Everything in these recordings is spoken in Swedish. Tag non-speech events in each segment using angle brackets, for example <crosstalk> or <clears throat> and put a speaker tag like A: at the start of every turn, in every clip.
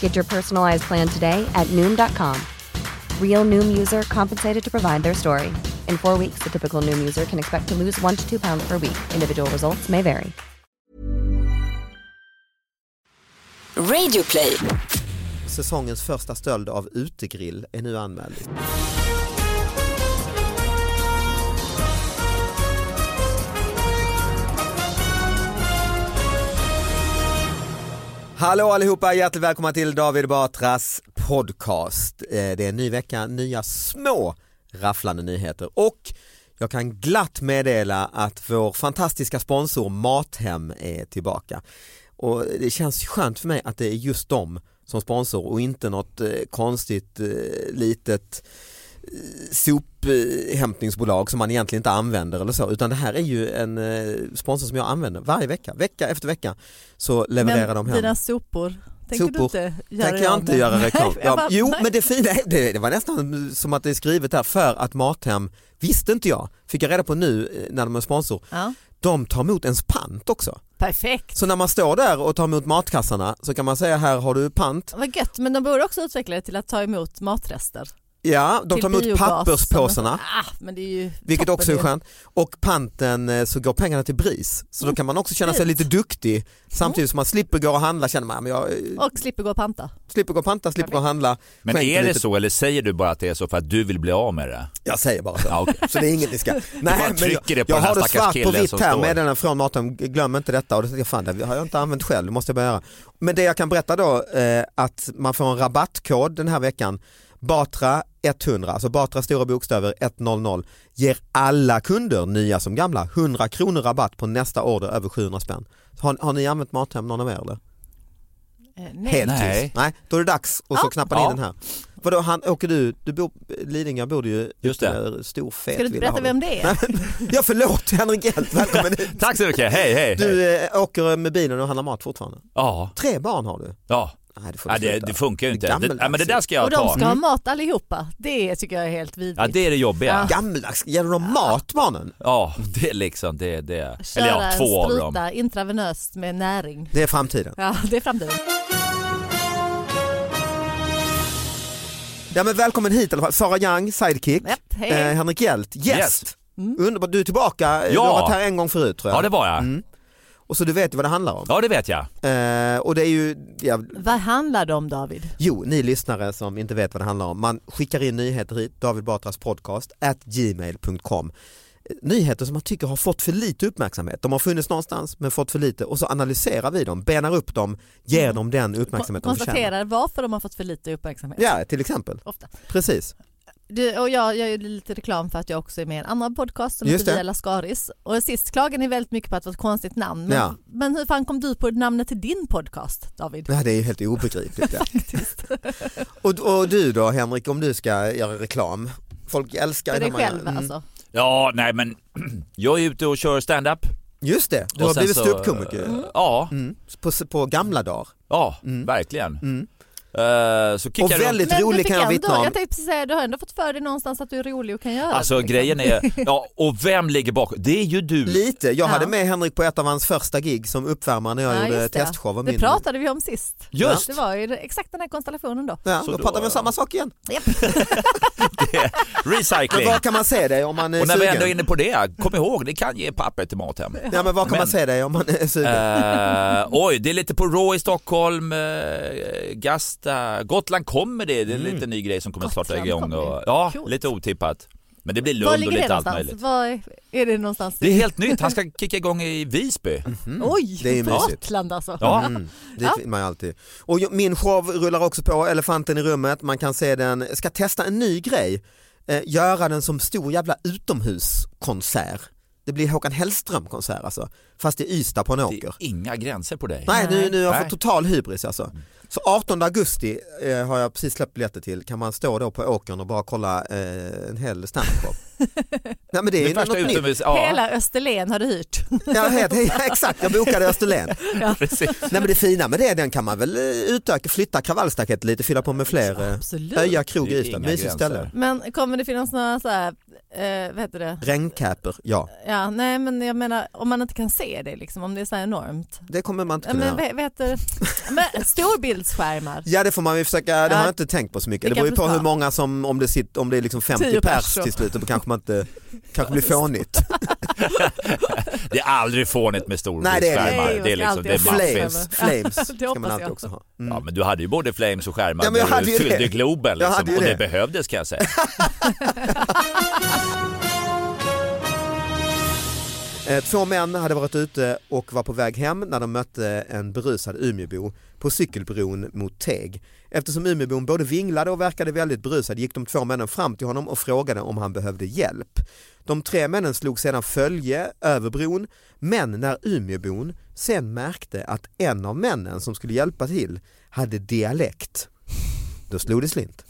A: Get your personalized plan today at Noom.com. Real Noom user compensated to provide their story. In four weeks, the typical Noom user can expect to lose one to two pounds per week. Individual results may vary.
B: Radioplay.
C: Säsongens första stöld av utegrill är nu anmäld. Hallå allihopa, hjärtligt välkomna till David Batras podcast. Eh, Det är en ny vecka, nya små rafflande nyheter och jag kan glatt meddela att vår fantastiska sponsor Mathem är tillbaka. Och det känns ju skönt för mig att det är just dem som sponsor och inte något eh, konstigt eh, litet eh, sophämtningsbolag som man egentligen inte använder eller så utan det här är ju en eh, sponsor som jag använder varje vecka, vecka efter vecka så levererar
D: men
C: de hem.
D: dina sopor, tänker du
C: Sopor.
D: inte göra
C: Tänker jag
D: av
C: inte
D: med? <laughs>
C: göra reklam.
D: jag
C: Ja,
D: bara,
C: jo
D: nej.
C: men det fina, är- det, det var nästan som att det är skrivet där för att Mathem, visste inte jag, fick jag reda på nu eh, när de är sponsor,
D: Ja.
C: de tar emot ens pant också.
D: Perfekt.
C: Så när man står där och tar emot matkassarna så kan man säga här har du pant.
D: Vad gött, men de borde också utveckla det till att ta emot matrester.
C: Ja, de
D: Till
C: tar emot
D: biogas.
C: papperspåsarna.
D: Ah, men det är ju
C: Vilket
D: toppen
C: också är
D: ju.
C: skönt. Och panten eh, så går pengarna till BRIS. Så då kan man också känna sig
D: Mm. fint. Mm.
C: lite duktig samtidigt som man slipper gå och handla. Känner man, "Ja, men jag eh,
D: Och slipper gå och panta.
C: slipper gå och panta, slipper gå och handla.
E: Men
C: Skänker
E: är det
C: lite-
E: så eller säger du bara att det är så för att du vill bli av med det?
C: Jag säger bara så.
E: Ja, okej.
C: Så det är inget ni ska... Nej,
E: bara
C: jag,
E: trycker det på
C: jag
E: den här
C: har det
E: stackars
C: svart på
E: killen
C: vitt
E: som
C: här,
E: står.
C: meddelanden från Mathem, glöm inte detta. Och då tänkte jag, fan det har jag inte använt själv, det måste jag börja göra. Men det jag kan berätta då, eh, att man får en rabattkod den här veckan, Batra 100, alltså Batra stora bokstäver 100, ger alla kunder, nya som gamla, 100 kronor rabatt på nästa order över 700 spänn. Har, har ni använt Mathem någon av er eller?
D: Eh, nej.
C: Helt
E: Nej.
C: tyst. Nej, då är det dags och så
D: Ja.
C: knappar ni in
E: Ja.
C: den här. Vadå, han, åker du, du bor, Lidingö bor du ju
E: Just det.
C: eh, stor fet
D: Ska du inte
C: villa har
D: berätta vem det är?
C: Nej, Ja förlåt Henrik Hjelt, välkommen hit.
E: <laughs> Tack så mycket, hej hej! hej.
C: Du eh, åker med bilen och handlar mat fortfarande.
E: Ja,
C: Tre barn har du.
E: ja.
C: Nej det får du
E: ja det,
C: sluta.
E: det funkar ju
C: Det är
E: inte. Det,
C: gammaldags
E: ja, men det där ska
D: Och
E: jag ta.
D: de ska
C: Mm.
D: ha mat allihopa. Det tycker jag är helt vidrigt.
E: Ja, det är det jobbiga.
C: Gammaldags, ger de mat barnen?
E: Ja, det är liksom det. det.
D: Köra
E: Eller ja, två
D: en
E: av
D: spruta
E: dem.
D: intravenöst med näring.
C: Det är framtiden.
D: Ja, det är framtiden.
C: Ja men välkommen hit i alla fall, Sara Young, sidekick.
D: Japp, hej. Mm.
C: Eh, Henrik Hjelt, gäst.
E: Yes.
C: Underbart, du är tillbaka, du har varit här en gång förut tror jag.
E: Ja, det var jag.
C: Mm. Och så du vet ju vad det handlar om.
E: Ja, det vet jag.
C: Eh, och det är ju, ja,
D: Vad handlar det om David?
C: Jo, ni lyssnare som inte vet vad det handlar om, man skickar in nyheter hit, David Batras podcast, at gmail.com. Eh, Nyheter som man tycker har fått för lite uppmärksamhet. De har funnits någonstans men fått för lite och så analyserar vi dem, benar upp dem, ger dem den uppmärksamhet de förtjänar.
D: Mm. Konstaterar varför de har fått för lite uppmärksamhet.
C: Ja, till exempel.
D: Ofta.
C: Precis.
D: Du, och jag gör ju lite reklam för att jag också är med i en annan podcast som
C: Just
D: heter
C: det.
D: Via Lascaris. Och sist klagade ni väldigt mycket på att det var ett konstigt namn. Men,
C: Ja.
D: men hur fan kom du på namnet till din podcast David?
C: Ja, det är ju helt obegripligt. Ja. och, och du då Henrik, om du ska göra reklam? Folk älskar
D: För dig
C: när man-
D: själv
C: Mm.
D: alltså.
E: Ja, nej men <clears throat> jag är ute och kör stand-up.
C: Just det, du
E: Och
C: har
E: sen
C: blivit
E: så- Mm. eh,
C: ståuppkomiker ju.
E: Ja,
C: mm. på, på gamla dagar.
E: ja, verkligen. Eh, så kickar
C: Och
E: jag runt.
C: väldigt rolig
D: du
C: kan
D: fick
C: jag
D: ändå-
C: vittna om.
D: Jag tänkte precis säga, du har ändå fått för dig någonstans att du är rolig och kan göra
E: Alltså
D: det, liksom.
E: grejen är, ja och vem ligger bakom? Det är ju du.
C: Lite, jag
D: Ja.
C: hade med Henrik på ett av hans första gig som uppvärmare när jag
D: Ja,
C: gjorde
D: just det.
C: testshow av
D: Det
C: min...
D: pratade vi om sist.
E: Just.
D: Det var ju exakt den här konstellationen då.
C: Ja,
E: Så
C: då
E: då-
C: pratar vi om samma sak igen. Men
E: Recycling.
C: var kan man se dig om man är
E: Och när vi
C: sugen?
E: ändå är inne på det, kom ihåg det kan ge papper till mat hem.
C: Ja, men var kan man
E: Men-
C: se dig om man är sugen?
E: Eh, oj, det är lite på Raw i Stockholm, eh, Gasta, Gotland kommer det. Det är
C: Mm.
E: lite ny grej som kommer att starta
D: Gotland
E: igång. Och,
D: kommer.
E: ja,
D: Coolt.
E: lite otippat. Men det blir
D: Var
E: Lund och
D: ligger det
E: lite allt möjligt.
D: någonstans? Var är- är det någonstans?
E: Det är helt nytt, han ska kicka igång i Visby.
D: Oj,
C: det är ju mysigt.
D: Gotland alltså.
E: Ja.
C: Mhm. Mm, dit vill man ju alltid. Och jag- min show rullar också på, Elefanten i rummet, man kan se den, ska testa en ny grej, eh, göra den som stor jävla utomhuskonsert. Det blir Håkan Hellström-konsert alltså, fast i Ystad på en
E: Det är
C: åker.
E: inga gränser på dig.
C: Nej, nu, nu har jag
E: Nej.
C: fått total hybris alltså. Så 18 augusti eh, har jag precis släppt biljetter till, kan man stå då på åkern och bara kolla eh, en hel
D: <laughs>
C: standup-show? Nej men det är
E: Det första
C: något nytt.
E: utomhus, ja,
D: Hela Österlen har du hyrt.
C: Ja, helt- exakt, jag bokade
D: <laughs>
C: Österlen.
E: <laughs> precis.
C: Nej men det fina med det, den kan man väl eh, utöka, flytta kravallstaketet lite, fylla på med fler. eh,
D: Absolut.
C: Öja krog
E: Det
C: i
E: är
C: Ystad,
E: inga
C: mysigt
E: gränser.
C: ställe.
D: Men kommer det finnas några så här, eh, vad heter det?
C: Regnkäper, ja.
D: Ja, nej men jag menar om man inte kan se det liksom, om det är så här enormt.
C: Det kommer man inte
D: Ja,
C: kunna
D: men
C: göra.
D: vad vad heter det? Men, storbildsskärmar.
C: Ja det får man ju försöka, det
D: Ja.
C: har jag inte tänkt på så mycket. Det
D: Det
C: beror ju
D: kanske
C: på
D: ska.
C: hur många som, om det, sitter, om det är liksom 50
D: Tio
C: pers
D: pers
C: till slut, då kanske man
D: <laughs>
C: inte, kanske blir fånigt.
E: Det är aldrig fånigt med stor
C: Nej, det är det
E: skärmar.
D: inte.
E: Det är liksom,
D: Alltid
E: det är
D: flames.
E: maffigt.
C: Flames,
D: <laughs> Ja,
C: flames ska
D: det
C: man
D: hoppas
C: alltid
D: jag.
C: också ha. Mm.
E: Ja, men du hade ju både flames och skärmar
C: Ja, men jag
E: när
C: hade ju
E: du fyllde
C: det.
E: Globen
C: Jag
E: liksom,
C: hade ju
E: och det
C: det.
E: behövdes kan jag
C: <laughs>
E: säga.
C: Eh, Två män hade varit ute och var på väg hem när de mötte en berusad Umeåbo på cykelbron mot Teg. Eftersom Umeåbon både vinglade och verkade väldigt berusad gick de två männen fram till honom och frågade om han behövde hjälp. De tre männen slog sedan följe över bron men när Umeåbon sen märkte att en av männen som skulle hjälpa till hade dialekt, då slog det slint.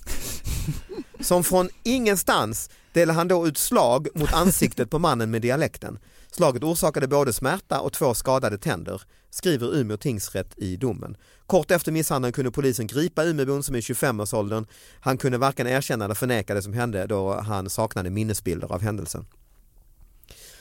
C: Som från ingenstans delade han då ut slag mot ansiktet på mannen med dialekten. Slaget orsakade både smärta och två skadade tänder, skriver Umeå tingsrätt i domen. Kort efter misshandeln kunde polisen gripa Umeåbon som är i 25-årsåldern. Han kunde varken erkänna eller förneka det som hände då han saknade minnesbilder av händelsen.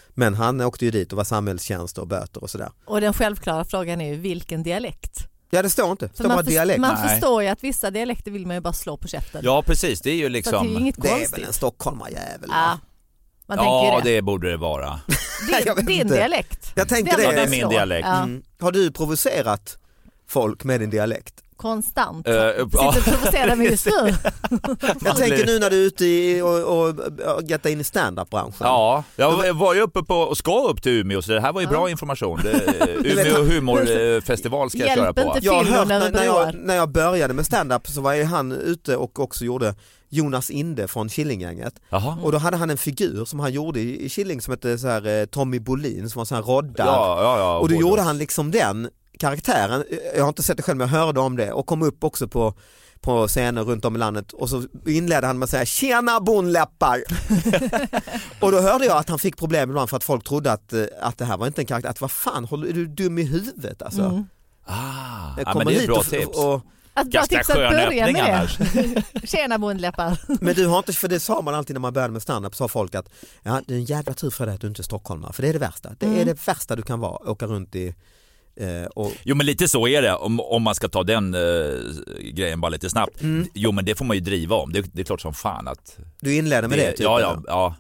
C: Men han åkte ju dit och var samhällstjänst och böter och sådär.
D: Och den självklara frågan är ju vilken dialekt?
C: Ja det står inte, det
D: För
C: står bara
D: man, förs-
C: dialekt.
D: man
E: Nej.
D: förstår ju att vissa dialekter vill man ju bara slå på käften.
E: Ja, precis. Det är ju
D: Så att det är ju
E: liksom...
D: inget
C: Det är
D: konstigt.
C: väl en stockholmarjävel.
D: ja, man
E: Ja,
D: tänker ju det.
E: det borde det vara.
C: Jag vet
D: Din, din
C: inte.
D: dialekt.
C: Jag tänker
D: Den
C: det.
E: Ja,
D: man
E: det är
D: kan
E: min
D: slå.
E: dialekt.
D: Ja,
C: Mm. Har du provocerat folk med din dialekt?
D: Konstant.
E: Eh,
D: Sitter
E: eh, ja.
D: och provocerar mig just nu.
C: <laughs> Jag tänker nu när du är ute i, och, och, och gettar in i standup-branschen.
E: Ja, jag var ju uppe på, och ska upp till Umeå så det här var ju bra information. Det,
C: <laughs>
E: Umeå humorfestival ska jag
D: Hjälp
E: köra på.
D: inte
C: Jag har
D: Film
C: hört
D: när
C: när,
D: vi
C: när, jag,
D: börjar.
C: när jag började med standup så var ju han ute och också gjorde Jonas Inde från Killinggänget.
E: Jaha.
C: Och då hade han en figur som han gjorde i i Killing som hette så här, eh, Tommy Bolin som var så här roddar.
E: Ja, ja, ja,
C: och då
E: både-
C: gjorde han liksom den karaktären, jag har inte sett det själv men jag hörde om det och kom upp också på på scener runt om i landet och så inledde han med att säga tjena bonläppar <laughs> och då hörde jag att han fick problem ibland för att folk trodde att, eh, att det här var inte en karaktär, att vad fan håller, är du dum i huvudet alltså?
E: Ah,
C: Jag
E: ja,
C: kommer
E: men det är
C: hit
E: ett bra
C: och-
E: tips.
C: och,
D: Att bra
E: Ganska
D: tips att
E: skön
D: börja
E: öppning
D: med
E: annars.
D: det. <laughs> Tjena bondläppar.
C: Men du har inte, för det sa man alltid när man började med standup, sa folk att ja, det är en jävla tur för dig att du inte är stockholmare, för det är det värsta. Det
D: Mm.
C: är det värsta du kan vara, åka runt i eh, och
E: Jo men lite så är det, om, om man ska ta den eh, grejen bara lite snabbt.
C: Mm.
E: Jo men det får man ju driva om, det, det är klart som fan att...
C: du inleder med det. Mm. typ,
E: ja,
C: eller?
E: ja, ja.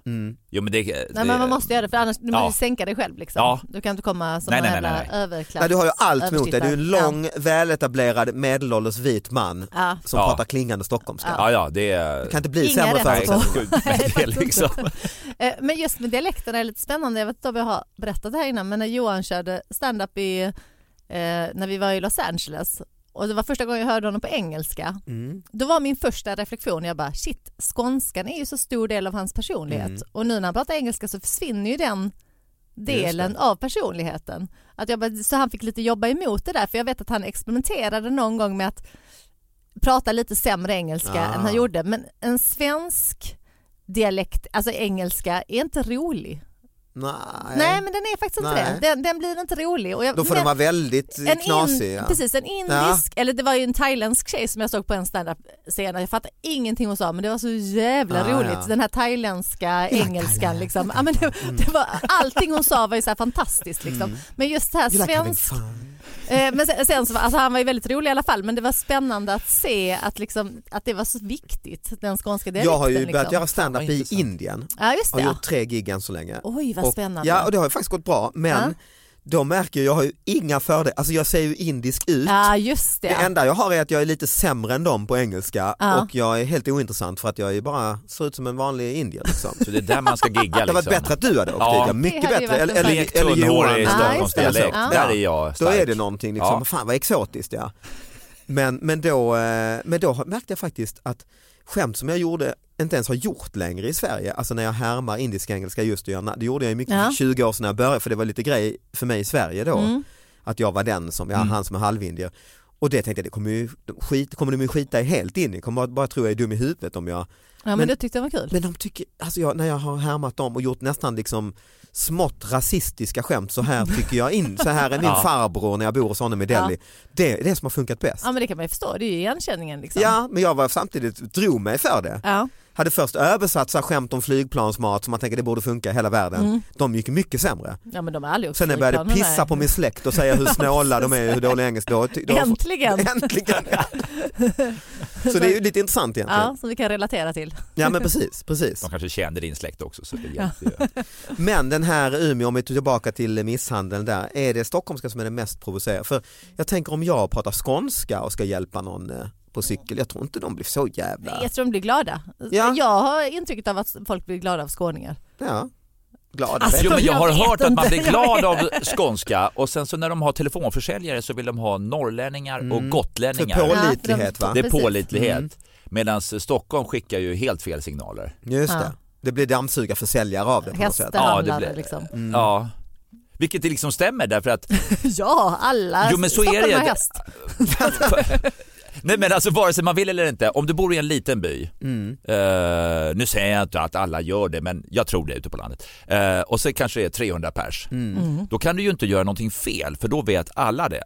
E: Jo men det... det
D: Nej men man måste göra det för annars du
E: Ja.
D: måste sänka dig själv liksom.
E: Ja.
D: Du kan inte komma som
E: Nej,
D: en
E: nej,
D: jävla
E: nej, nej.
D: överklass.
C: Nej, du har ju allt mot dig, du är en
D: översittare.
C: lång, väletablerad, medelålders vit man
D: Ja.
C: som
E: Ja.
C: pratar klingande stockholmska.
E: Ja, ja, det är...
C: Det kan inte bli
D: Inga
C: sämre
D: rätt
E: Nej,
D: på.
C: förutsättningar.
E: gud, <laughs> men det är
C: <laughs>
E: liksom...
D: Ja. Eh, Men just med dialekterna är lite spännande. Jag vet inte om jag har berättat det här innan men när Johan körde stand-up i, eh, när vi var i Los Angeles och det var första gången jag hörde honom på engelska.
C: Mm.
D: Då var min första reflektion, jag bara shit, skånskan är ju så stor del av hans personlighet
C: Mm.
D: och nu när han pratar engelska så försvinner ju den delen av personligheten. Att jag bara, så han fick lite jobba emot det där för jag vet att han experimenterade någon gång med att prata lite sämre engelska
C: Ah.
D: än han gjorde men en svensk dialekt, alltså engelska, är inte rolig.
C: Nej.
D: Nej men den är faktiskt inte
C: Nej.
D: det. Den, den blir inte rolig. Och jag,
C: Då får
D: men,
C: den vara väldigt eh,
D: en
C: knasig.
D: in,
C: ja.
D: Precis, en indisk, eller det var ju en thailändsk tjej som jag såg på en standup-scen. Jag fattade ingenting hon sa men det var så jävla
C: Ah,
D: roligt.
C: ja.
D: Den här thailändska engelskan liksom. Ja, men det,
C: Mm.
D: det var, allting hon sa var ju så här fantastiskt liksom. Men just det här
C: You like having
D: svenskt
C: fun.
D: Eh, Men sen, sen så, var- alltså han var ju väldigt rolig i alla fall men det var spännande att se att, liksom, att det var så viktigt, den skånska dialekten.
C: Jag har ju
D: liksom.
C: börjat göra stand-up
E: Vad
C: i
E: intressant.
C: Indien.
D: Ja just
C: Har
D: det.
C: gjort tre gig än så länge.
D: Oj vad
C: Och-
D: spännande.
C: Ja och det har ju faktiskt gått bra men
D: Ja.
C: de märker ju, jag har ju inga fördelar, alltså jag ser ju indisk ut.
D: Ja, just det.
C: Det enda jag har är att jag är lite sämre än dem på engelska
D: Ja.
C: och jag är helt ointressant för att jag är bara ser ut som en vanlig indier. Liksom.
E: Så det är där man ska gigga
C: Det
E: liksom.
C: var bättre att du hade åkt
E: Ja.
C: dit, ja. mycket
D: Det hade ju
C: bättre.
D: varit
C: Eller, eller,
E: Lekt
C: eller
E: tunnhårig i
C: Johan.
D: Ja,
E: Stockholmsdialekt,
D: just det.
E: där är jag
C: Då
E: stark.
C: är det någonting, liksom,
E: Ja.
C: fan vad exotiskt ja. Men, men, då, eh, men då har- märkte jag faktiskt att skämt som jag gjorde inte ens har gjort längre i Sverige, alltså när jag härmar indisk-engelska just och gör na- det gjorde jag ju mycket
D: Ja. Mm.
C: för 20 år sedan när jag började för det var lite grej för mig i Sverige då, att jag var den som, ja, han som är halvindier. Och det tänkte jag, det kommer, ju, de skit, kommer de ju skita i helt in i, kommer bara, bara tro jag är dum i huvudet om jag
D: ja, men,
C: men-
D: det tyckte jag var kul.
C: men de tycker, alltså jag, när jag har härmat dem och gjort nästan liksom smått rasistiska skämt, så här tycker jag in, så här är
D: <laughs>
C: min
E: Ja.
C: farbror när jag bor hos honom i Delhi. Det är det som har funkat bäst.
D: Ja men det kan man ju förstå, det är ju igenkänningen liksom.
C: Ja, men jag var samtidigt, drog mig för det.
D: Ja.
C: Hade först översatt så här skämt om flygplansmat som man tänker det borde funka i hela världen.
D: Mm.
C: De gick mycket sämre.
D: Ja, men de har aldrig åkt
C: Sen när jag
D: flygplan,
C: började
D: de
C: pissa
D: där.
C: på min släkt och säga hur snåla de är, hur dålig engelska då, ty- då
D: Äntligen!
C: <laughs>
D: <laughs>
C: Äntligen! ja. Så det är ju lite intressant egentligen.
D: Ja, som vi kan relatera till.
C: Ja men precis, precis.
E: De kanske kände din släkt också så det hjälpte ju.
C: Men den här Umeå, om vi tar tillbaka till misshandeln där, är det stockholmska som är det mest provocerande? För jag tänker om jag pratar skånska och ska hjälpa någon eh, på cykel, jag tror inte de blir så jävla...
D: Jag tror de blir glada.
C: Ja.
D: Jag har intrycket av att folk blir glada av skåningar.
C: Ja, glada.
D: Alltså,
E: Jo, men jag
D: jag
E: har
D: vet
E: hört att man
D: inte.
E: blir glad av skånska och sen så när de har telefonförsäljare så vill de ha norrlänningar och
C: för
E: gotlänningar.
C: pålitlighet
D: Mm. Ja,
C: va?
E: Det är
D: Precis. Mm.
E: pålitlighet. Medan Stockholm skickar ju helt fel signaler.
C: Just det.
D: Ja.
C: Det blir dammsugarförsäljare av det på något sätt.
D: Hästhandlare
E: Ja, det blir-
D: liksom. <laughs>
E: Ja. Vilket det liksom stämmer därför att
D: Ja, alla
E: Jo, men så är
D: Stockholm
E: det.
D: har häst.
E: <laughs> Nej men alltså vare sig man vill eller inte, om du bor i en liten by,
C: Mm.
E: eh, nu säger jag inte att alla gör det men jag tror det ute på landet, eh, och så kanske det är 300 pers,
C: Mm.
D: Mm.
E: då kan du ju inte göra någonting fel för då vet alla det.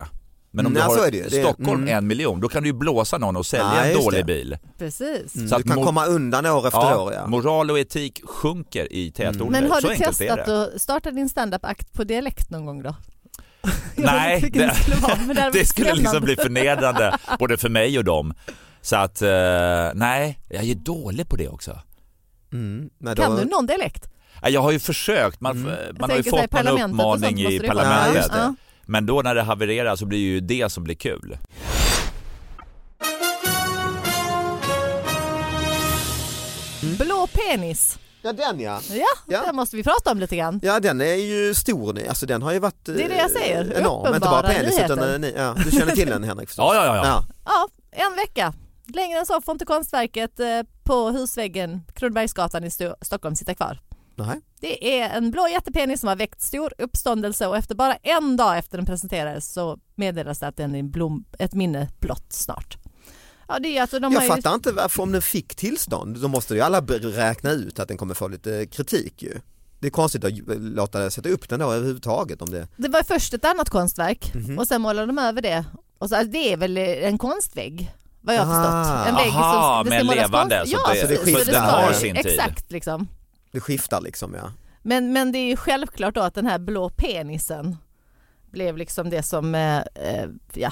E: Men om
C: Nej,
E: du
C: Mm, så
E: har
C: är det ju. Det-
E: Stockholm
C: mm.
E: en miljon, då kan du ju blåsa någon och sälja
C: Ja,
E: en
C: just
E: dålig
C: det. Mm,
E: bil.
D: Precis.
E: Så
C: Du kan
E: mor-
C: komma undan år efter
E: ja,
C: år ja.
E: Moral och etik sjunker i tätorter,
D: Men har
E: så
D: du
E: enkelt är
D: testat
E: det.
D: att starta din standup-akt på dialekt någon gång då? <laughs> Jag vet
E: Nej,
D: inte vilken det skulle vara, men det
E: <laughs>
D: hade
E: det
D: varit
E: skulle liksom
D: spännande.
E: bli förnedrande både för mig och dem. Så att, eh, nej, jag är dålig på det också.
C: Mm. Nej, då-
D: Kan du någon dialekt?
E: Ja, Jag har ju försökt, man, eh, man har ju
D: Mm. tänker så här,
E: fått en
D: parlamentet och sånt
E: uppmaning
D: måste
E: i
D: det ju
C: Ja,
D: vara.
E: parlamentet.
C: just det.
D: Ja.
E: Men då när det havererar så blir ju det som blir kul.
D: Blå penis.
C: Ja den ja.
D: Ja,
C: Mm. Ja.
D: det måste vi prata om lite grann.
C: Ja den är ju stor nu, alltså den har ju varit eh,
D: Det är det jag säger.
C: enorm, inte bara
D: Uppenbara
C: penis utan
D: nyheter.
C: eh, ni- ja. du känner till
E: <laughs>
C: den Henrik förstås?
E: Ja, ja, ja, ja.
D: Ja, en vecka. Längre än så får inte konstverket eh, på husväggen Kronobergsgatan i Sto- Stockholm sitta kvar.
C: Nej.
D: Det är en blå jättepenis som har väckt stor uppståndelse och efter bara en dag efter den presenterades så meddelas det att den är en blom, ett minne blott snart. Ja, det är alltså, de
C: Jag
D: har ju-
C: fattar inte varför om den fick tillstånd, då måste ju alla be- räkna ut att den kommer få lite kritik ju. Det är konstigt att ju- låta sätta upp den då överhuvudtaget om det.
D: Det var först ett annat konstverk
C: Mhm.
D: och sen målade de över det. Och så, alltså, det är väl en konstvägg vad jag har
C: Ah.
D: förstått. En vägg
E: Aha,
D: som det ska
E: men
D: målas
E: levande,
D: konst-
E: så
D: Ja,
E: att
C: det-
D: precis.
C: så det skiftar.
D: Så
C: Den har
D: ska-
E: sin tid.
D: Exakt liksom.
C: Det skiftar liksom ja.
D: Men, men det är ju självklart då att den här blå penisen blev liksom det som, eh, eh, ja,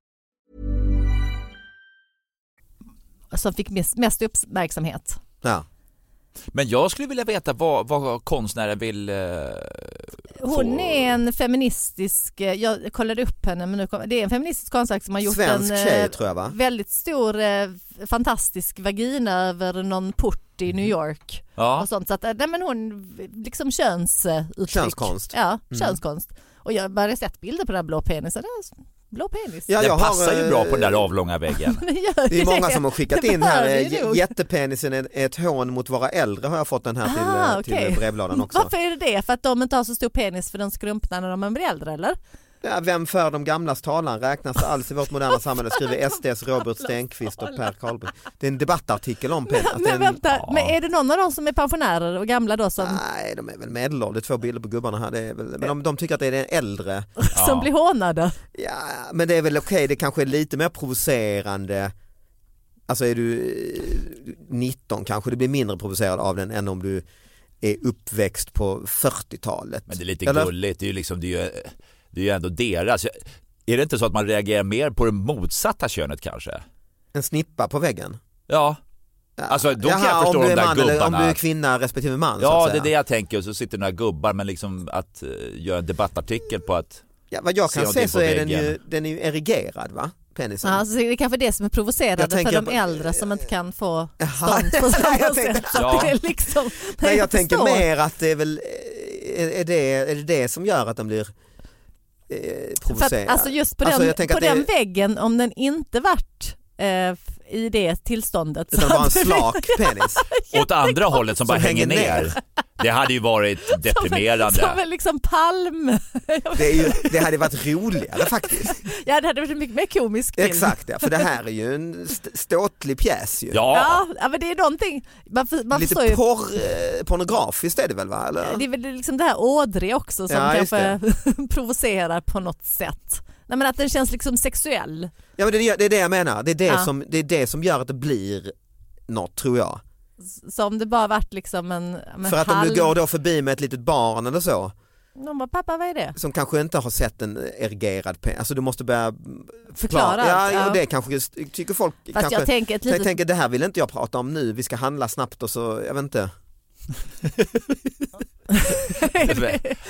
D: som fick mest, mest uppmärksamhet.
C: Ja.
E: Men jag skulle vilja veta vad, vad konstnären vill... eh,
D: Hon
E: få-
D: är en feministisk, eh, jag kollade upp henne, men nu kom, det är en feministisk konstnär som har gjort
C: Svensk
D: en eh,
C: tjej tror jag va?
D: väldigt stor, eh, fantastisk vagina över någon port i New
C: Mhm.
D: York.
E: Ja.
D: Och sånt. Så att, eh, nej, men hon, liksom könsuttryck.
C: Könskonst.
D: Ja, könskonst. Och jag har bara sett bilder på den här blå penisen. Ja, Blå penis.
C: Ja, jag
E: Den
C: har,
E: passar ju bra på den där
C: eh,
E: avlånga
C: <laughs>
E: väggen.
D: <laughs> Den gör
C: Det
D: ju
C: är många som har skickat in här,
D: behöver
C: eh,
D: ju nog.
C: j- jättepenisen är är ett hån mot våra äldre har jag fått den här till,
D: Ah,
C: eh, till
D: okej.
C: eh, brevlådan också.
D: Varför är det det? För att de inte har så stor penis för de skrumpnar när de blir äldre eller?
C: Ja, vem för de gamlas talan räknas det alls i vårt moderna samhälle
D: <laughs>
C: skriver SDs Robert Stenqvist och Per Karlberg. Det är en debattartikel om penis. att det är
D: <laughs>
C: en-
D: Men
C: Ah,
D: vänta, men är det någon av dem som är pensionärer och gamla då som,
C: Nej, de är väl medelålders, det är två bilder på gubbarna här. Det är väl, men de, de tycker att det är den äldre.
D: som blir hånade?
C: Ja, men det är väl okej, det kanske är lite mer provocerande. Alltså är du eh, 19 kanske du blir mindre provocerad av den än om du är uppväxt på 40-talet.
E: Men det är lite
C: Eller?
E: gulligt, det är ju liksom, det är ju, det är ju ändå deras. Är det inte så att man reagerar mer på det motsatta könet kanske?
C: En snippa på väggen.
E: Ja, Alltså, då kan
C: Jaha,
E: jag förstå
C: om du
E: de
C: är
E: där
C: man eller om
E: gubbarna.
C: du är kvinna respektive man så
E: ja
C: att
E: det är det
C: säga.
E: jag tänker och så sitter några gubbar men liksom att eh, göra en debattartikel på att
C: Ja, vad jag
E: Se
C: kan se
E: någonting
C: så
E: på
C: är den ju,
E: väggen.
C: den är ju erigerad va? Penisen. <laughs>
D: Ja, så det är kanske det som är
C: Jag
D: provocerande för
C: tänker
D: de
C: på-
D: äldre som inte kan få
C: Jaha.
D: stånd på samma
C: <laughs> Jag tänkte-
D: sätt. Så att
E: Ja.
D: det är
C: <laughs>
D: liksom,
C: Nej jag tänker
D: förstår.
C: mer att det är väl, är, är, det, är det det som gör att de blir eh,
D: För
C: provocerade?
D: att, alltså just på den,
C: Alltså, jag tänker
D: på
C: att det-
D: den väggen, om den inte varit eh, i det tillståndet.
C: Utan
D: så
C: bara en
D: hade det-
C: slak
D: <laughs>
C: penis.
E: åt andra hållet som bara
C: Som
E: hänger
C: hänger
E: ner. Det hade ju varit
D: <laughs> Som
E: deprimerande.
D: en liksom palm.
C: Det, är ju, det hade varit roligare
D: <laughs>
C: faktiskt.
D: Ja det hade varit en mycket mer komisk bild.
C: Exakt ja, för det här är ju en st- ståtlig pjäs ju.
E: Ja,
D: Ja, ja men det är någonting, man, f- man
C: Lite
D: förstår ju.
C: porr, eh, pornografiskt är det väl va? Eller?
D: Det är väl liksom det här ådriga också som
C: Ja, just
D: kanske <laughs> provocerar på något sätt. Nej men att den känns liksom sexuell.
C: Ja, men det, är- det är det jag menar, det är det,
D: Ja.
C: som, det är det som gör att det blir något tror jag.
D: Så om det bara varit liksom en, en
C: För att
D: halv...
C: om du går då förbi med ett litet barn eller så
D: De bara pappa vad är det?
C: som kanske inte har sett en erigerad penis, alltså du måste börja
D: Förklara
C: Ja,
D: allt, ja.
C: ja. Och det kanske just- tycker folk
D: Fast
C: kanske,
D: jag tänker ett litet...
C: jag
D: <laughs>
C: tänker det här vill inte jag prata om nu, vi ska handla snabbt och så, jag vet inte.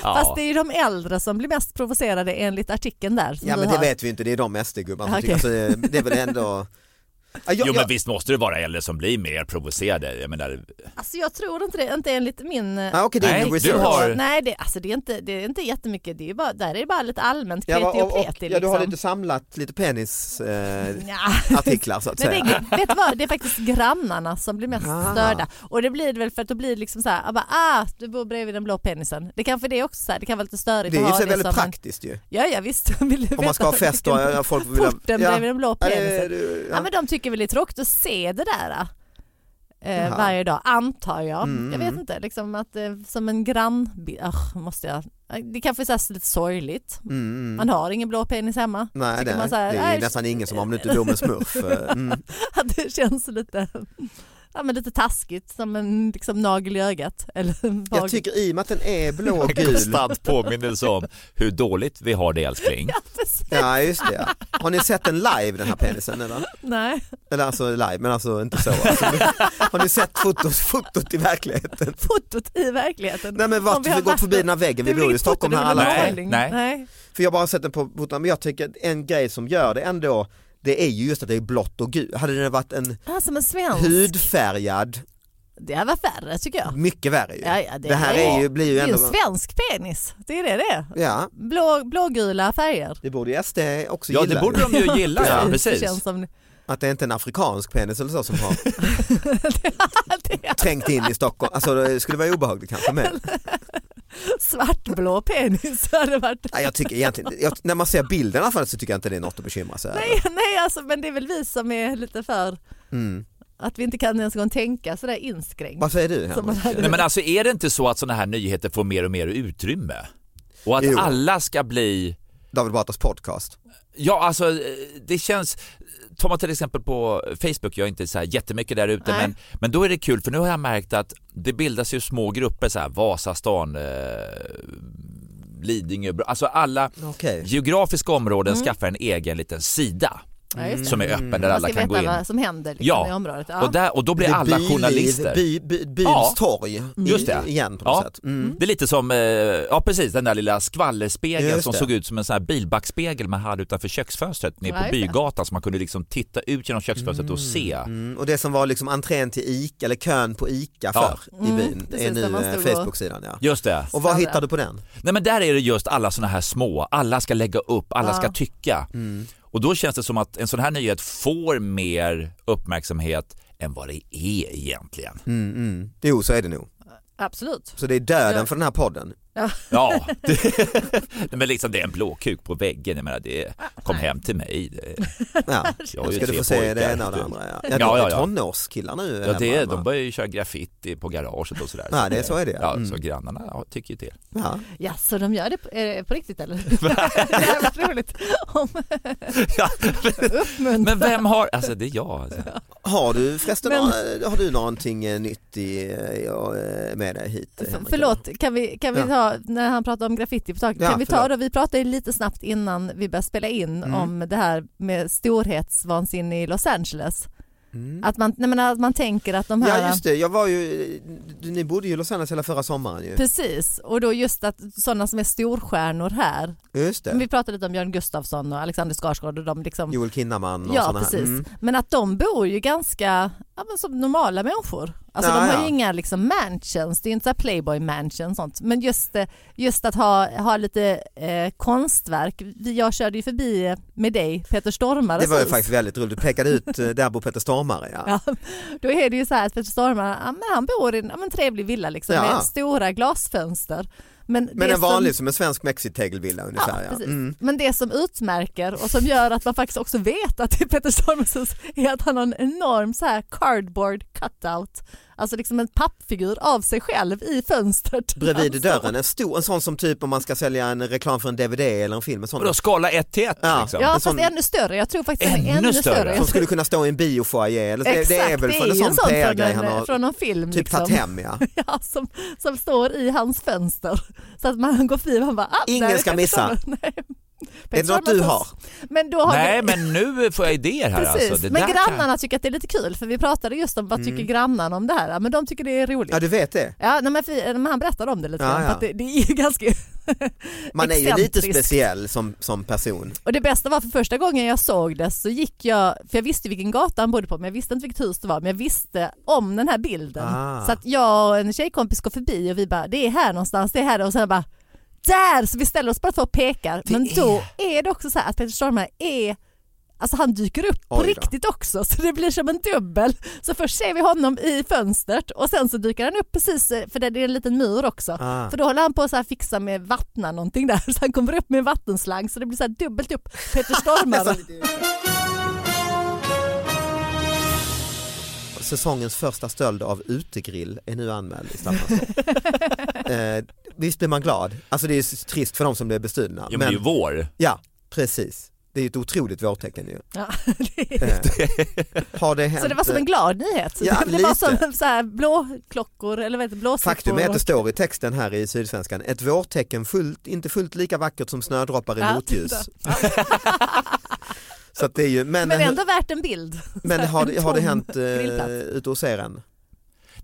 D: Fast
E: <laughs> ja.
D: det är ju de äldre som blir mest provocerade enligt artikeln där. Som
C: Ja
D: du
C: men det
D: har.
C: vet vi inte, det är de SD-gubbarna som
D: Okej.
C: tycker, alltså, det- det är väl
D: <laughs>
C: ändå... Ja,
E: Jo
C: jag,
E: men
C: jag,
E: visst måste det vara äldre som blir mer provocerade. Jag menar,
D: Alltså jag tror inte det, inte enligt min... eh,
C: ah, okej, det är
E: Nej,
C: ingen
E: du
C: research.
E: har-
D: Nej det, alltså det, är inte, det är inte jättemycket, det är ju bara, där är det bara lite allmänt kreti
C: Ja,
D: och,
C: och, och,
D: pleti.
C: ja, du har
D: liksom.
C: lite samlat lite penisartiklar
D: Nja.
C: eh, artiklar, så att
D: <laughs> Men det,
C: säga.
D: är, vet du vad, det är faktiskt grannarna som blir mest
C: Ah.
D: störda. Och det blir det väl för att då blir det liksom så här, ah, bara, ah, du bor bredvid den blå penisen. Det kanske det är också så här, det kan vara lite störigt
C: Det är
D: att
C: ju
D: ha
C: så
D: det
C: väldigt
D: som en-
C: praktiskt ju.
D: Ja, ja visst. <laughs> Vill du
C: Om man ska ha fest och ja, folk vill...
D: Porten bredvid den blå
C: Ja, det-
D: penisen. Ja,
C: det- ja.
D: men de tycker väl det är tråkigt att se det där eh,
C: Jaha. Mm,
D: varje dag, antar jag. Jag vet inte, liksom att eh, som en grannbild, ah, måste jag. Det kanske är så här lite sorgligt. Man har ingen blå penis hemma.
C: Mm, Nej,
D: Tycker
C: nej.
D: man så här,
C: det är
D: "Nej,
C: ju nästan ingen som om du inte bor med smurf. eh, Mm.
D: <laughs> att det känns lite, ja, men lite taskigt som en liksom, nagel i ögat. Eller <laughs> en
C: Jag
D: vagel.
C: tycker i och med att den är blå
D: <laughs>
C: och gul.
E: konstant påminnelse om hur dåligt vi har det älskling.
D: Ja, precis.
C: Ja just det. ja. Har ni sett den live den här penisen eller?
D: Nej, <laughs>
C: Eller alltså live men alltså inte så. Alltså. <laughs> Har ni sett fotot, fotot i verkligheten?
D: fotot i verkligheten.
C: Nej men
D: Om
C: vart,
D: vi
C: vi
D: har
C: har gått
D: varit-
C: förbi den här väggen,
D: Det
C: vi
D: är
C: bor ju i
D: inget foto,
C: Stockholm
D: det är
C: här
D: väl en
C: alla år.
D: målning.
E: Nej.
D: Nej.
C: För jag har bara sett den på fotot, men jag tycker att en grej som gör det ändå, det är ju just att det är blått och gult. Hade det varit en
D: Ah, som en svensk.
C: hudfärgad,
D: Det här var värre tycker jag.
C: mycket värre ju.
D: Ja, ja, det
C: det, här
D: är-
C: är ju, blir
D: Det
C: ju
D: är ju en
C: ändå...
D: svensk penis, det är det det är.
C: Ja,
D: Blå, Blågula färger.
C: det borde ju SD också
E: Ja
C: gilla.
E: det borde
C: ju.
E: de ju gilla, ja,
D: Det
E: precis.
D: känns som <laughs>
C: Att det är inte är en afrikansk penis eller så som har trängt in i Stockholm. Alltså det skulle vara obehagligt kanske
D: <laughs>
C: men
D: alltså svartblå penis <laughs> hade varit.
C: nej, jag tycker egentligen, jag, när man ser bilden i alla fall så tycker jag inte det är något att bekymra sig över.
D: Nej, nej alltså, men det är väl vi som är lite för
C: Mm.
D: att vi inte kan ens en gång tänka sådär inskränkt.
C: Vad säger du
D: Som
C: Henrik?
D: man hade
E: Nej, men alltså är det inte så att sådana här nyheter får mer och mer utrymme? Och att
C: Jo.
E: alla ska bli
C: David Batras podcast.
E: Ja, alltså eh, det känns... tar man till exempel på Facebook, jag är inte så här jättemycket där ute,
D: Nej.
E: men, men då är det kul för nu har jag märkt att det bildas ju små grupper så här Vasastan, eh, Lidingö, Bro- alltså alla
C: Okej.
E: geografiska områden skaffar en egen liten sida
D: Mm. Ja, just det. Mm.
E: som är öppen där
D: Man
E: alla
D: ska
E: kan gå
D: veta
E: in.
D: vad som händer liksom, i området. Ja.
E: Och, där, och då blir
C: Det är
E: alla
C: byliv,
E: journalister.
C: By, by, byns
E: Ja. Mm.
C: torg Mm. i-
E: Just det.
C: igen på
E: Ja.
C: något sätt. Mm.
E: Det är lite som, eh, ja precis den där lilla skvallerspegeln
C: Just
E: som
C: det.
E: såg ut som en sån här bilbackspegel man hade utanför köksfönstret nere
D: Ja,
E: på
D: just det.
E: bygatan så man kunde liksom titta ut genom köksfönstret och se.
C: Mm. Och det som var liksom entrén till Ica, eller kön på Ica
E: Ja.
C: förr i byn, det är
D: Mm, precis, där
C: nu
D: man
C: eh,
D: stod och-
C: Facebook-sidan ja.
E: Just det.
C: Och vad
D: Ställe.
C: hittar du på den?
E: Nej men där är det just alla såna här små, alla ska lägga upp, alla
D: Ja.
E: ska tycka.
C: Mm.
E: Och då känns det som att en sån här nyhet får mer uppmärksamhet än vad det är egentligen.
C: Mm, mm. Jo så är det nog.
D: Absolut.
C: Så det är döden för den här podden. <laughs>
E: Ja, <laughs> det, Nej, men liksom det är en blåkuk på väggen, jag menar det, kom hem till mig. Det,
D: <laughs>
C: Ja.
E: jag har
C: Nu
E: ju
C: ska du
E: tre
C: få se det
E: pojkar.
C: ena och det andra. Ja, ja,
E: Ja,
C: du har
E: ja, ja.
C: tonårskillar nu.
E: Ja,
C: hemma,
E: det är, de
C: va?
E: börjar ju köra graffiti på garaget och sådär.
C: Ja, det- så är det, ja.
E: Ja,
C: Mm.
E: Så grannarna ja, tycker ju
C: <laughs>
E: till.
C: ja.
D: Ja, så de gör det på, är det på
E: <laughs>
D: riktigt eller? <laughs> det här var roligt. Om
E: Ja,
D: uppmuntran.
E: men vem har, alltså det är jag. Alltså.
C: Har du förresten några, har du någonting eh, nytt i, eh, ja, eh, med dig hit? eh, Henrik?
D: Förlåt, kan vi, kan vi
C: Ja.
D: ta, när han pratade om graffiti på taket,
C: Ja,
D: kan vi ta
C: förlåt.
D: då, vi pratade ju lite snabbt innan vi började spela in
C: Mm.
D: om det här med storhetsvansinne i Los Angeles.
C: Mm.
D: Att man, nej men att man tänker att de här...
C: Ja just det, jag var ju, ni bodde ju i Los Angeles hela förra sommaren ju.
D: Precis, och då just att sådana som är storstjärnor här.
C: Just
D: Men
C: det.
D: vi pratade lite om Björn Gustafsson och Alexander Skarsgård och de liksom...
C: Joel Kinnaman och
D: ja,
C: sådana
D: precis.
C: här. Mm.
D: Men att de bor ju ganska ja, men som normala människor. Alltså
C: Ja,
D: de har
C: ja.
D: ju inga liksom mansions, det är ju inte så här playboy mansion sånt. Men just, eh, just att ha, ha lite eh, konstverk. Vi- Jag körde ju förbi eh, med dig, Peter Stormares
C: Det var ju
D: hus.
C: faktiskt väldigt roligt, du pekade ut eh, där bor Peter Stormare. Ja.
D: Ja, då är det ju så här att Peter Stormare, ja, men han bor i en ja, men trevlig villa liksom,
C: Ja.
D: med stora glasfönster. Men,
C: Men
D: det
C: en vanlig
D: som,
C: som en svensk mexitegelvilla
D: ja,
C: ungefär. Ja,
D: precis.
C: Mm.
D: Men det som utmärker och som gör att man faktiskt också vet att det är Peter Stormares hus är att han har en enorm så här cardboard cutout, alltså liksom en pappfigur av sig själv i fönstret. Alltså,
C: Bredvid dörren, en stor, en sån som typ om man ska sälja en reklam för en DVD eller en film. En sån.
E: Vadå skala 1 till 1
C: Ja.
E: liksom?
D: Ja
C: En
D: fast
C: sån-
D: ännu större, jag tror faktiskt den är
E: Ännu
D: ännu
E: större.
D: större.
C: Som skulle kunna stå i en biofoyer. eller- Det, det är väl från en
D: ju
C: sån
D: sånt
C: PR-grej
D: en,
C: han har
D: från någon film.
C: typ
D: liksom.
C: tagit hem. Ja.
D: <laughs> Ja, som, som står i hans fönster. Så att man går förbi och man bara... Ah,
C: Ingen
D: där är
C: ska
D: Peter
C: missa.
D: Stormare. <laughs> Nej. Peter
C: något
D: Stormare
C: du
D: hus.
C: har?
D: Men då har
E: Nej
D: vi...
E: men nu får jag idéer här
D: Precis,
E: alltså. Det
D: men
E: där kan-
D: grannarna tycker att det är lite kul för vi pratade just om vad tycker grannarna om det här. Ja, Men de tycker det är roligt.
C: ja,
D: Ja,
C: du vet det.
D: nej, men, för, men han berättade om det lite
C: Ja,
D: grann.
C: ja.
D: För att det, det är ju <laughs> ganska
C: Man är ju lite
D: excentriskt.
C: speciell som, som person.
D: Och det bästa var för första gången jag såg det så gick jag, för jag visste vilken gata han bodde på men jag visste inte vilket hus det var men jag visste om den här bilden.
C: Ah.
D: Så att jag och en tjejkompis går förbi och vi bara det är här någonstans, det är här och sen bara där! Så vi ställer oss bara två och pekar men då är det också så här att Peter Stormare är Alltså han dyker upp på
C: Oj då.
D: riktigt också så det blir som en dubbel. Så först ser vi honom i fönstret och sen så dyker han upp precis, eh, för det det är en liten mur också.
C: Ah.
D: För då håller han på att så här fixa med vattna någonting där <laughs> så han kommer upp med en vattenslang så det blir så här dubbelt upp.
C: <laughs>
D: Peter Stormare.
C: Säsongens första stöld av utegrill är nu anmäld i Staffanstorp.
D: <laughs>
C: eh, visst blir man glad? Alltså det är ju s- trist för de som blev bestulna.
E: Jo, men det är ju vår.
C: ja, precis. Det är ju ett otroligt vårtecken ju.
D: <laughs> ja, det är...
C: Eh, har det hänt? eh,
D: Så det var som en glad nyhet.
C: Ja,
D: det var
C: lite.
D: som så här blåklockor eller vad heter det, blåsippor.
C: Faktum är att det
D: och-
C: står i texten här i Sydsvenskan, ett vårtecken fullt, inte fullt lika vackert som snödroppar i
D: Ja,
C: motljus.
D: titta.
C: Så att det är ju, men,
D: Men ändå värt en bild.
C: men har, det- har det hänt eh,
D: grillplats.
C: ute hos er än?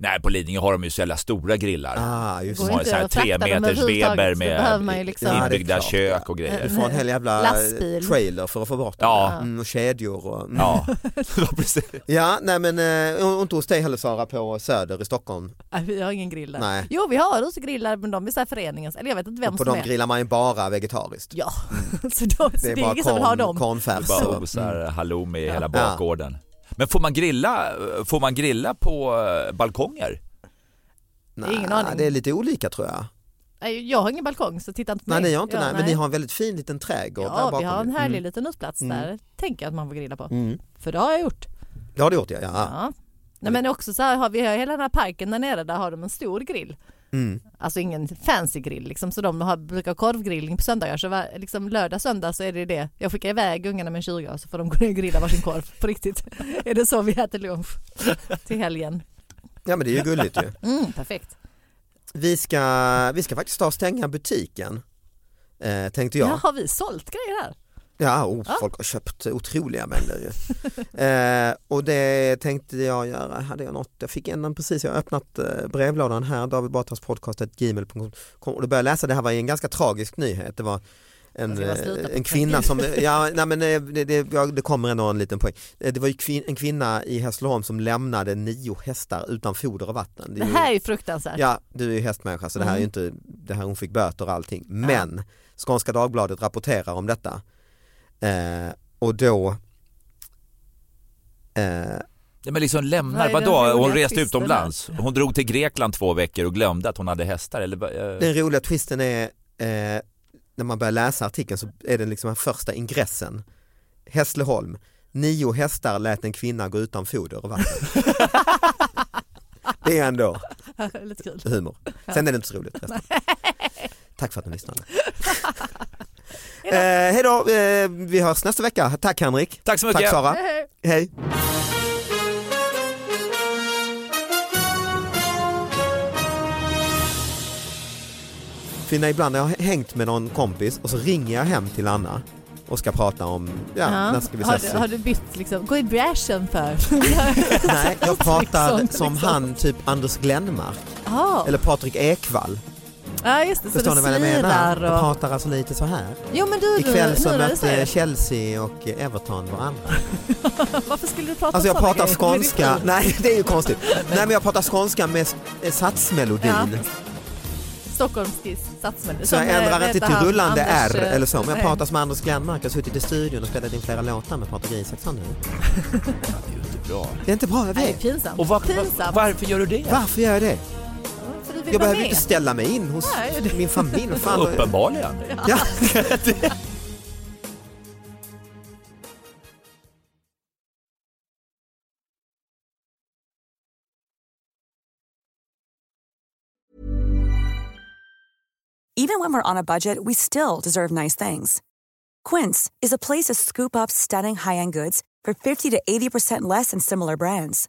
E: Nej på Lidingö har de ju så jävla stora grillar.
C: Ah, just
D: Går
E: De
C: det.
E: har ju
D: inte
E: så här
D: att frakta
E: tre
D: dem
E: meters
D: överhuvudtaget,
E: Weber
D: så behöver man ju
E: med
D: liksom-
C: Ja, det är
E: inbyggda
C: klart,
E: kök
C: ja.
E: och grejer.
C: Du får en hel jävla eh,
D: Lastbil.
C: trailer för att få bort den.
E: Ja.
C: Mm, och kedjor och... Mm. <laughs>
E: Ja, det var precis.
C: Ja, nej men eh, och inte hos dig heller Sara på Söder i Stockholm.
D: Nej, vi har ingen grill där.
C: Nej.
D: Jo vi har utegrillar men de är så här föreningens, eller jag vet inte vem
C: Och på
D: som
C: dem
D: är.
C: grillar man ju bara vegetariskt.
D: Ja, <laughs> så, då, så
C: Det är
D: det är
C: bara
D: ingen som vill ha
C: korn,
D: dem.
E: Det
C: kornfärs.
E: bara
C: och-
E: osar halloumi i hela bakgården. Men får man grilla, får man grilla på eh, balkonger?
D: Det är ingen
C: Nej,
D: aning.
C: det är lite olika tror jag.
D: Nej, Jag har ingen balkong så titta inte på
C: Nej,
D: mig.
C: ni har inte
D: Ja,
C: nej, men ni har en väldigt fin liten trädgård där
D: Ja,
C: bakom.
D: vi har en
C: ju.
D: härlig
C: Mm.
D: liten utplats
C: Mm.
D: där tänker jag att man får grilla på.
C: Mm.
D: För det har jag gjort.
C: Det har du gjort ja. ja.
D: Ja. Nej, men också så här, har vi har hela den här parken där nere, där har de en stor grill.
C: Mm.
D: Alltså ingen fancy grill liksom. Så de har, brukar ha korvgrillning på söndagar. Så var, liksom lördag, söndag så är det det. Jag skickar iväg ungarna med en 20 så får de gå ner och grilla varsin korv. På riktigt. <laughs> är det så vi äter lunch till helgen?
C: Ja men det är ju gulligt ju.
D: Mm, perfekt.
C: Vi ska, vi ska faktiskt ta och stänga butiken. Eh, tänkte jag.
D: Ja, har vi sålt grejer här?
C: Ja, oh, folk har köpt otroliga mängder
D: <laughs>
C: ju. eh, och det tänkte jag göra, hade jag något, jag fick en precis, jag har öppnat eh, brevlådan här, David Batras podcast gmail.com och då började jag läsa, det här var ju en ganska tragisk nyhet, det var en,
D: Jag ska bara sluta
C: eh,
D: på
C: en kvinna
D: <laughs>
C: som, ja nej, men eh, det, det, ja, det kommer ändå en liten poäng. Eh, Det var ju kvin, en kvinna i Hässleholm som lämnade nio hästar utan foder och vatten.
D: Det
C: är ju-
D: här är ju fruktansvärt. <laughs>
C: Ja, du är ju hästmänniska så det här är ju inte, det här hon fick böter och allting. Men Skånska Dagbladet rapporterar om detta. Eh, och då eh,
E: Nej, men liksom
D: Vad
E: lämnar,
D: är den
E: vadå?
D: roliga
E: Hon reste
D: twisten
E: utomlands. Hon drog till Grekland två veckor och glömde att hon hade hästar. Eller, vad, eh,
C: den roliga twisten är eh, när man börjar läsa artikeln så är den liksom den första ingressen. Hässleholm, nio hästar lät en kvinna gå utan foder och vatten. det är ändå
D: Lite kul.
C: humor. Sen är det inte så roligt. resten. Tack för att ni
D: <laughs>
C: lyssnade. eh, hej då, eh, vi hörs nästa vecka. Tack Henrik.
E: Tack så mycket.
C: Tack Sara.
D: Hej, hej.
C: Hej. Fina, ibland har jag hängt med någon kompis och så ringer jag hem till Anna och ska prata om, ja, när ska vi
D: har,
C: ses?
D: du, har du bytt liksom, gå i bräschen för? <laughs>
C: Nej, jag pratar
D: Liksom,
C: som
D: liksom.
C: han, typ Anders Glenmark
D: Ja,
C: eller Patrik Ekwall.
D: ja just Alltså, det, så
C: Förstår
D: det
C: ni vad jag menar?
D: slirar
C: Jag
D: och...
C: pratar alltså lite så här.
D: Jo men du, nu,
C: Ikväll så
D: nu när du
C: mötte
D: säger
C: Chelsea och Everton varandra.
D: <laughs> det, varför skulle du prata
C: Alltså jag
D: såna
C: pratar
D: grejer? Men det är
C: skånska,
D: <laughs> kul.
C: nej det är ju konstigt. Nej men jag pratar skånska med s- eh, satsmelodin.
D: Stockholmsskiss, stadsmän.
C: Så jag ändrar inte till rullande R eller så. Men jag
D: eh, nej.
C: pratar som Anders Glenmark, jag har suttit i studion och spelat in flera låtar med Patrik Isaksson nu.
E: <laughs> Det är ju inte bra.
C: Det är inte bra, jag
D: Nej,
C: vet.
D: pinsamt.
E: Och var,
D: pinsamt.
E: varför gör du det?
C: Varför gör jag det?
D: för du
C: Jag
D: vill vara
C: behöver
D: med.
C: inte ställa mig in hos
D: Nej, det-
C: min familj.
E: <laughs>
C: Vad fan?
E: Uppenbarligen.
C: Ja.
F: Even when we're on a budget, we still deserve nice things. Quince is a place to scoop up stunning high-end goods for 50 to 80% less than similar brands.